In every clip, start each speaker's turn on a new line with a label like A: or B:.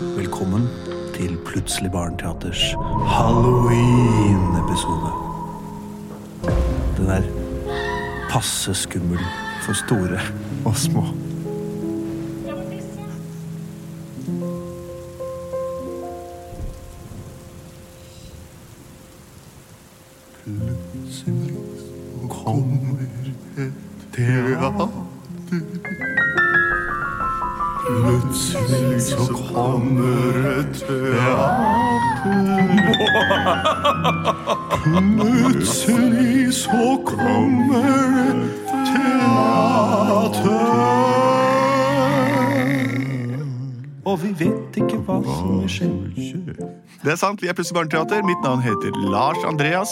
A: Velkommen til Plutselig barneteaters halloween-episode. Den er passe skummel for store og små. Plutselig kommer et teater. Plutselig så kommer et teater. Plutselig så kommer et teater. Og vi vet ikke hva som vil skje.
B: Det er sant, vi er Plutselig barneteater. Mitt navn heter Lars Andreas.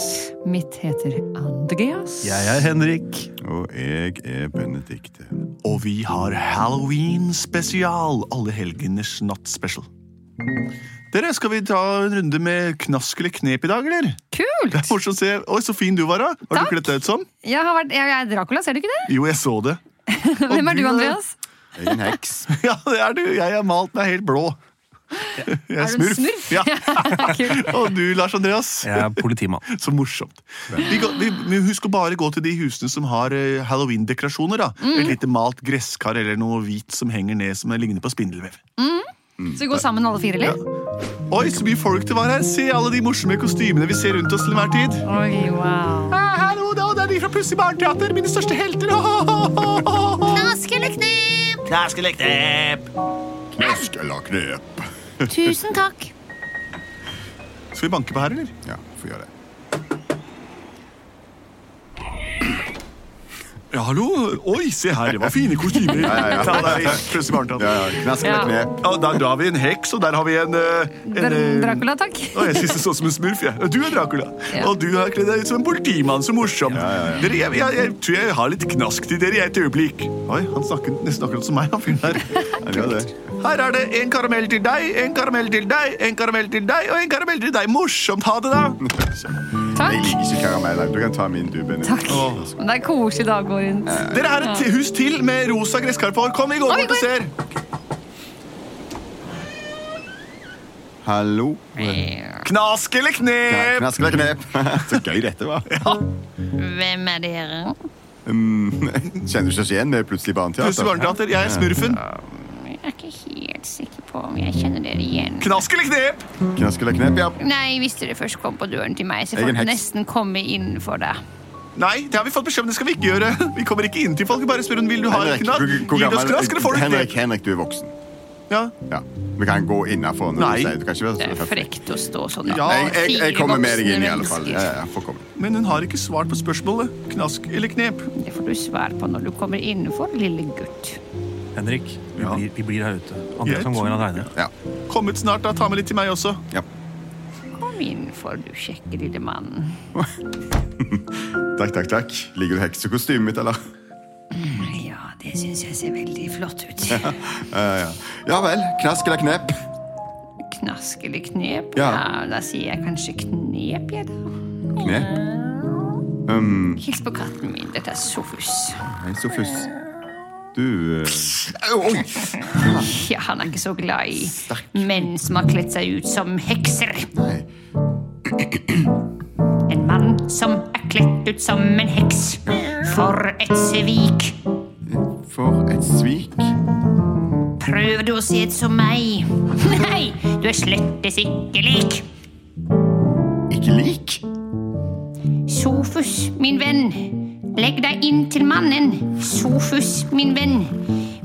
C: Mitt heter Andreas.
A: Jeg er Henrik.
D: Og jeg er Benedikte.
B: Og vi har Halloween-spesial. Alle helgeners natt-special. Dere, skal vi ta en runde med knask eller knep i dag, eller? Det er
C: Kult!
B: morsomt å se. Oi, så fin du var, da. Har
C: Takk.
B: du kledd deg ut som?
C: Jeg, har vært, jeg er Dracula, ser du ikke det?
B: Jo, jeg så det.
C: Hvem er du,
B: du er-
C: Andreas?
D: Jeg er en heks.
B: Ja, det er du. Jeg er malt meg helt blå. Jeg
C: Er du en smurf?
B: Ja.
C: Kult.
B: Og du, Lars Andreas.
A: Jeg er politimann.
B: Så morsomt. Vi, går- vi, vi husk å bare gå til de husene som har eh, halloween-dekorasjoner. da.
C: Mm.
B: Et lite malt gresskar eller noe hvit som henger ned som ligner på spindelvev.
C: Så vi går sammen alle fire, eller?
B: Oi, så mye folk det var her. Se alle de morsomme kostymene vi ser rundt oss til enhver tid.
C: Oi, wow.
B: Ah, hallo, da, det er de fra Plutselig barneteater, mine største helter.
E: Knask eller knep?
D: Knask eller knep.
E: Tusen takk.
B: Skal vi banke på her, eller?
D: Ja, får gjøre det.
B: Ja, hallo. Oi, se her, det var fine kostymer.
D: ja, ja.
B: Ta deg i Plutselig barneteater.
D: Ja, ja, knask eller
C: Ja.
D: knep.
B: Ja, der, da har vi en heks, og der har vi en, eh, en
C: Dra-
B: eh,
C: Dracula, takk.
B: Å, jeg synes det så ut som en smurf. jeg. Og Du er Dracula.
C: Ja.
B: Og du har kledd deg ut som en politimann. Så morsomt. Dere, jeg, jeg, jeg tror jeg har litt knask til dere i et øyeblikk. Oi, Han snakker nesten akkurat som meg, han fyren
D: Ja,
B: her.
D: det er det.
B: Her er det en karamell til deg, en karamell til deg, en karamell til deg og en karamell til deg. Morsomt. Ha det, da.
D: Jeg
C: Takk.
D: liker ikke karameller. Du kan ta min, du, Benny.
C: Takk. Men det er koselig dag å gå rundt.
B: Dere er et hus til med rosa gresskar på. Kom, vi går
C: Oi,
B: bort og
C: går-
B: ser.
D: Hallo.
B: Knask eller
D: Ja,
B: knep?
D: Knask eller knep. Så gøy dette var.
E: Hvem er dere?
D: Mm, Kjenner du ikke oss igjen med Plutselig
B: Plutselig
D: barneteater?
B: barneteater. Jeg er smurfen.
E: Jeg er ikke helt sikker på om jeg kjenner dere igjen.
B: Knask eller knep?
D: Knask eller knep, ja.
E: Nei, hvis dere først kom på døren til meg, så
D: Jeg er
E: får
D: en
E: dere
D: heks.
E: nesten komme innenfor da.
B: Nei, det har vi fått beskjed om. Det skal vi ikke gjøre. Vi kommer ikke inn til folk. Vi bare spør om vil du ha en
D: Henrik,
B: knask.
D: hvor- hvor
B: Gir du oss
D: gammel-
B: knask, eller får du
D: Henrik,
B: knep?
D: Henrik, du er voksen.
B: Ja.
D: Ja. Vi kan gå
B: Nei.
D: innafor. Du kan ikke være
E: Det
D: så
E: er frekt å stå sånn.
B: Ja,
D: Nei, jeg, jeg
E: Fire
D: kommer med deg
E: voksne
D: inn, i alle fall.
E: mennesker.
D: Ja, ja, ja, får komme.
B: Men hun har ikke svart på spørsmålet. Knask eller knep?
E: Det får du svar på når du kommer innenfor, lille gutt.
A: Henrik, vi,
B: Ja.
A: blir, vi blir her ute. Andreas
B: Jeg
A: kan gå inn
B: tror-
A: aleine.
D: Ja.
B: Kommet snart, da. Ta med litt til meg også.
D: ja.
E: Kom innenfor, du kjekke lille mann.
D: Takk, takk, takk. Liker du heksekostymet mitt, eller?
E: Ja, det syns jeg ser veldig flott ut.
D: Ja, ja. ja vel. Knask eller knep?
E: Knask eller knep? Ja,
D: Ja.
E: da sier jeg kanskje knep, jeg, da.
D: Knep.
E: Hils på katten min. Dette er Sofus.
D: Hei, Sofus. Du eh, Au, Oi!
E: Ja, han er ikke så glad i menn som har kledd seg ut som hekser.
D: Nei.
E: En mann som er kledd ut som en heks. For et svik.
D: For et svik.
E: Prøver du å se ut som meg? Nei, du er slettes ikke lik.
D: Ikke lik?
E: Sofus, min venn. Legg deg inn til mannen. Sofus, min venn.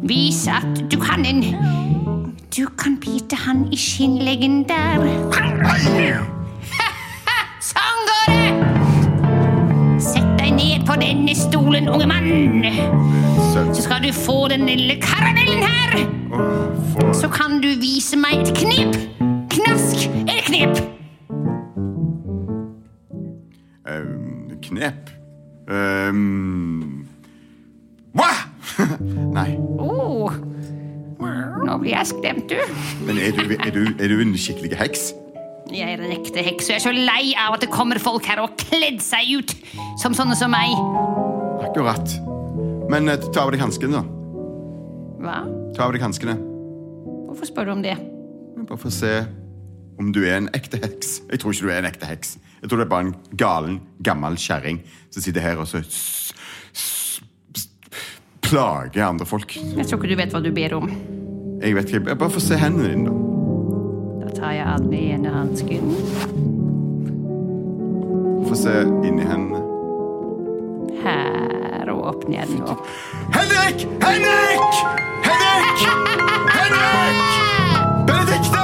E: Vis at du kan en. Du kan bite han i skinnleggen der. Sånn går det! Sett deg ned på denne stolen, unge mann.
D: Søt.
E: Så skal du få den lille karamellen her.
D: For
E: Så kan du vise meg et knep. Knask eller knep.
D: ehm, knep. Ehm, Hva?! Nei.
E: Oh. Nå blir jeg skremt, du.
D: Men er du, er, du, er du en skikkelig heks?
E: Jeg er en ekte heks, og jeg er så lei av at det kommer folk her og kledd seg ut som sånne som meg.
D: Akkurat. Men eh, ta av deg hanskene, da.
E: Hva?
D: Ta av deg hanskene.
E: Hvorfor spør du om det?
D: Bare for å se om du er en ekte heks. Jeg tror ikke du er en ekte heks. Jeg tror det er bare en galen, gammel kjerring som sitter her og så s- s- s- plager andre folk.
E: Jeg tror ikke du vet hva du ber om.
D: Jeg vet ikke. Bare få se hendene dine, da.
E: Da tar jeg av den ene hansken.
D: Få se inni hendene.
E: Her, og åpner jeg den opp.
D: Henrik! Henrik! Henrik! Henrik! Benedikte!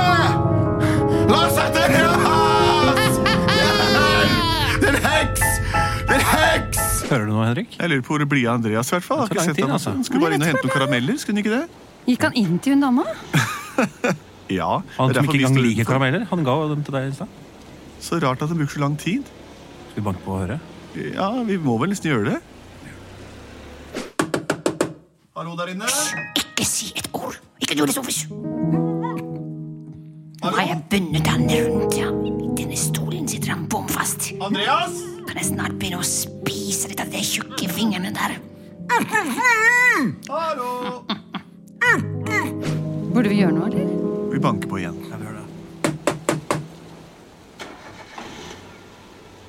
D: La oss sette en heks! Det er en heks! Det er en heks!
A: Hører du noe, Henrik?
F: Jeg lurer på hvor det blir av Andreas. i hvert fall. Jeg
A: Det
F: har
A: tar lang
F: ikke sett
A: tid,
F: han.
A: altså.
F: Han skulle bare inn og hente noen karameller. skulle han ikke det?
B: Gikk han inn til hun dama?
F: Ja,
A: Han
F: det
A: som
F: er derfor
A: ikke
F: vi
A: engang
F: står
A: liker
F: utenfor.
A: karameller, han ga dem til deg i stad.
F: Så rart at det bruker så lang tid.
A: Skal vi banke på og høre?
F: Ja, vi må vel nesten gjøre det. Hallo der inne.
E: Ikke si et ord. Ikke gjør det, Sofus. Nå har jeg bundet han rundt ham. I denne stolen sitter han bomfast.
F: Andreas!
E: Kan jeg snart begynne å spise litt av de tjukke fingrene der?
F: Hallo!
B: Burde vi gjøre noe, eller?
F: Vi banker på igjen.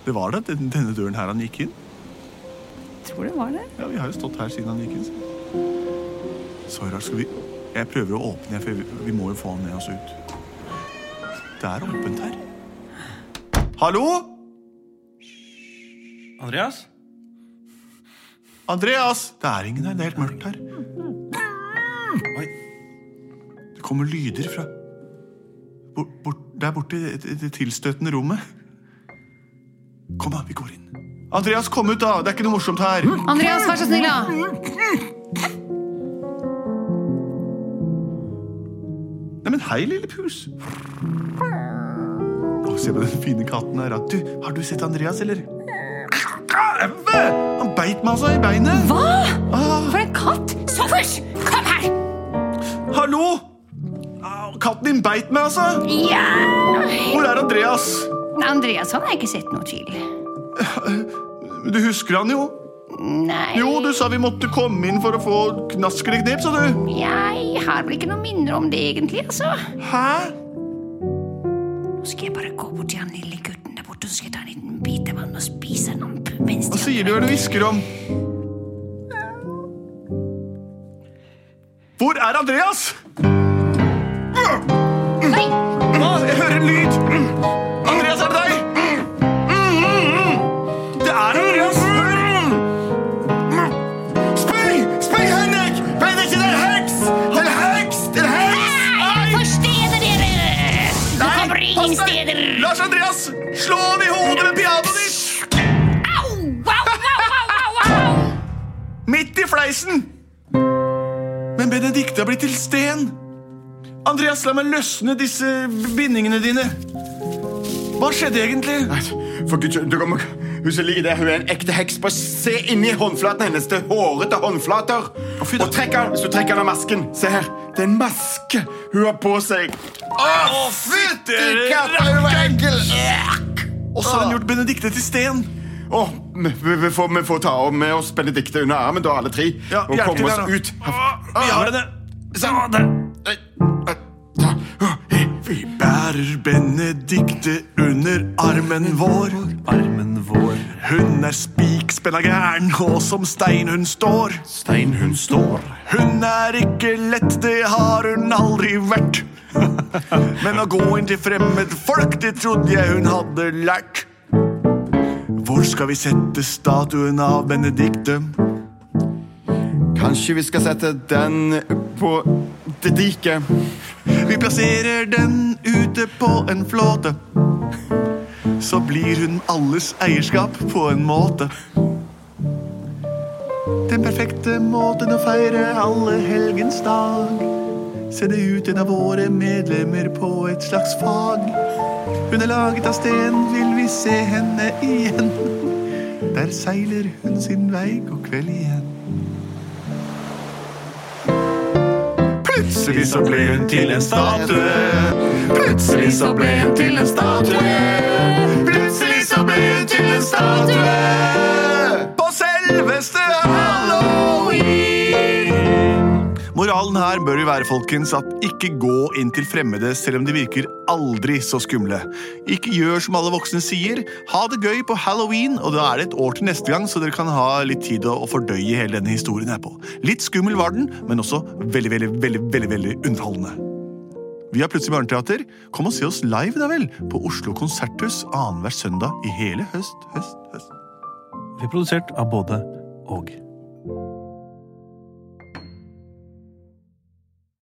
F: Det var da den- denne døren her han gikk inn.
B: Tror det var det.
F: Ja, Vi har jo stått her siden han gikk inn. så. Så rart. Skal vi Jeg prøver å åpne, her, for vi, vi må jo få han med oss ut. Det er åpent her. Hallo?
A: Andreas?
F: Andreas! Det er ingen her. Det er helt mørkt her. Oi. Det kommer lyder fra bort, bort, Der borte i det, det- det tilstøtende rommet. Kom, da. Vi går inn. Andreas, kom ut, da! Det er ikke noe morsomt her.
B: Andreas, vær så snill, da.
F: Nei, men hei, lille pus. Å, se på den fine katten her. da. Du, har du sett Andreas, eller? Æve! Han beit meg altså i beinet. Ah.
B: Hva? For en katt!
E: Sofus, kom her!
F: Hallo! Au, Katten din beit meg, altså!
E: Ja!
F: Hvor er Andreas?
E: Andreas han har jeg ikke sett noe til.
F: Du husker han jo.
E: Nei,
F: Jo, du sa vi måtte komme inn for å få knask eller knep, sa du.
E: jeg har vel ikke noen minner om det egentlig, altså.
F: Hæ?
E: Nå skal jeg bare gå bort til han lille gutten der borte, så skal jeg ta en liten bit av han og spise han opp mens
F: Hva
E: de
F: sier du hva du hvisker om? Hvor er Andreas?
E: Nei!
F: Hva? Jeg hører en lyd. Andreas, er det deg? Det er Andreas.
D: Spring! Spring, Henrik! Benedikte, det er en heks! Det er en heks! Det er en heks!
E: Jeg forsteder dere! Nå kommer det ingen steder!
F: Lars Andreas, slå ham i hodet med pianoet ditt!
E: Au! Au, au, au, au, au!
F: Midt i fleisen! Men Benedicte har blitt til sten. Andreas, la meg løsne disse bindingene dine. Hva skjedde egentlig?
D: For Gud, du kommer... Hun som ligger der, hun er en ekte heks. Bare se inni håndflaten hennes. Det er hårete håndflater.
F: fy da.
D: Og trekk han, hvis du trekker han av masken. Se her, det er en maske hun har på seg. Å, fytti katta, hun var enkel.
F: Og så har han gjort Benedicte til sten.
D: Åh, vi, vi, vi, får, vi får ta av med oss Benedikte under armen, da, alle tre.
F: Ja,
D: og
F: hjelp
D: komme
F: til
D: oss
F: der, da.
D: ut.
F: Vi har henne.
D: Sånn, der. Nei, nei, ta. Åh,
F: Vi bærer Benedicte under armen vår.
A: Armen vår.
F: Hun er spikspenna gæren, og som stein hun står.
D: Stein, hun står.
F: Hun er ikke lett, det har hun aldri vært. Men å gå inn til fremmed folk, det trodde jeg hun hadde lært. Hvor skal vi sette statuen av Benedicte?
D: Kanskje vi skal sette den på det diket.
F: Vi plasserer den ute på en flåte. Så blir hun alles eierskap på en måte. Den perfekte måten å feire alle helgens dag. Sende ut en av våre medlemmer på et slags fag. Hun er laget av sten, vil vi se henne igjen. Der seiler hun sin vei, god kveld igjen. Plutselig så ble hun til en statue. Plutselig så ble hun til en statue. Plutselig så ble hun til en statue. På selveste halloween. Moralen
B: her
F: her
B: bør vi være, folkens, at ikke gå inn til fremmede selv om de virker aldri så skumle. Ikke gjør som alle voksne sier. Ha det gøy på halloween, og da er det et år til neste gang, så dere kan ha litt tid å å fordøye hele denne historien her på. Litt skummel var den, men også veldig, veldig, veldig, veldig, veldig underholdende. Vi har Plutselig barneteater. Kom og se oss live, da vel, på Oslo Konserthus annenhver søndag i hele høst, høst, høst.
F: Vi er produsert av både og.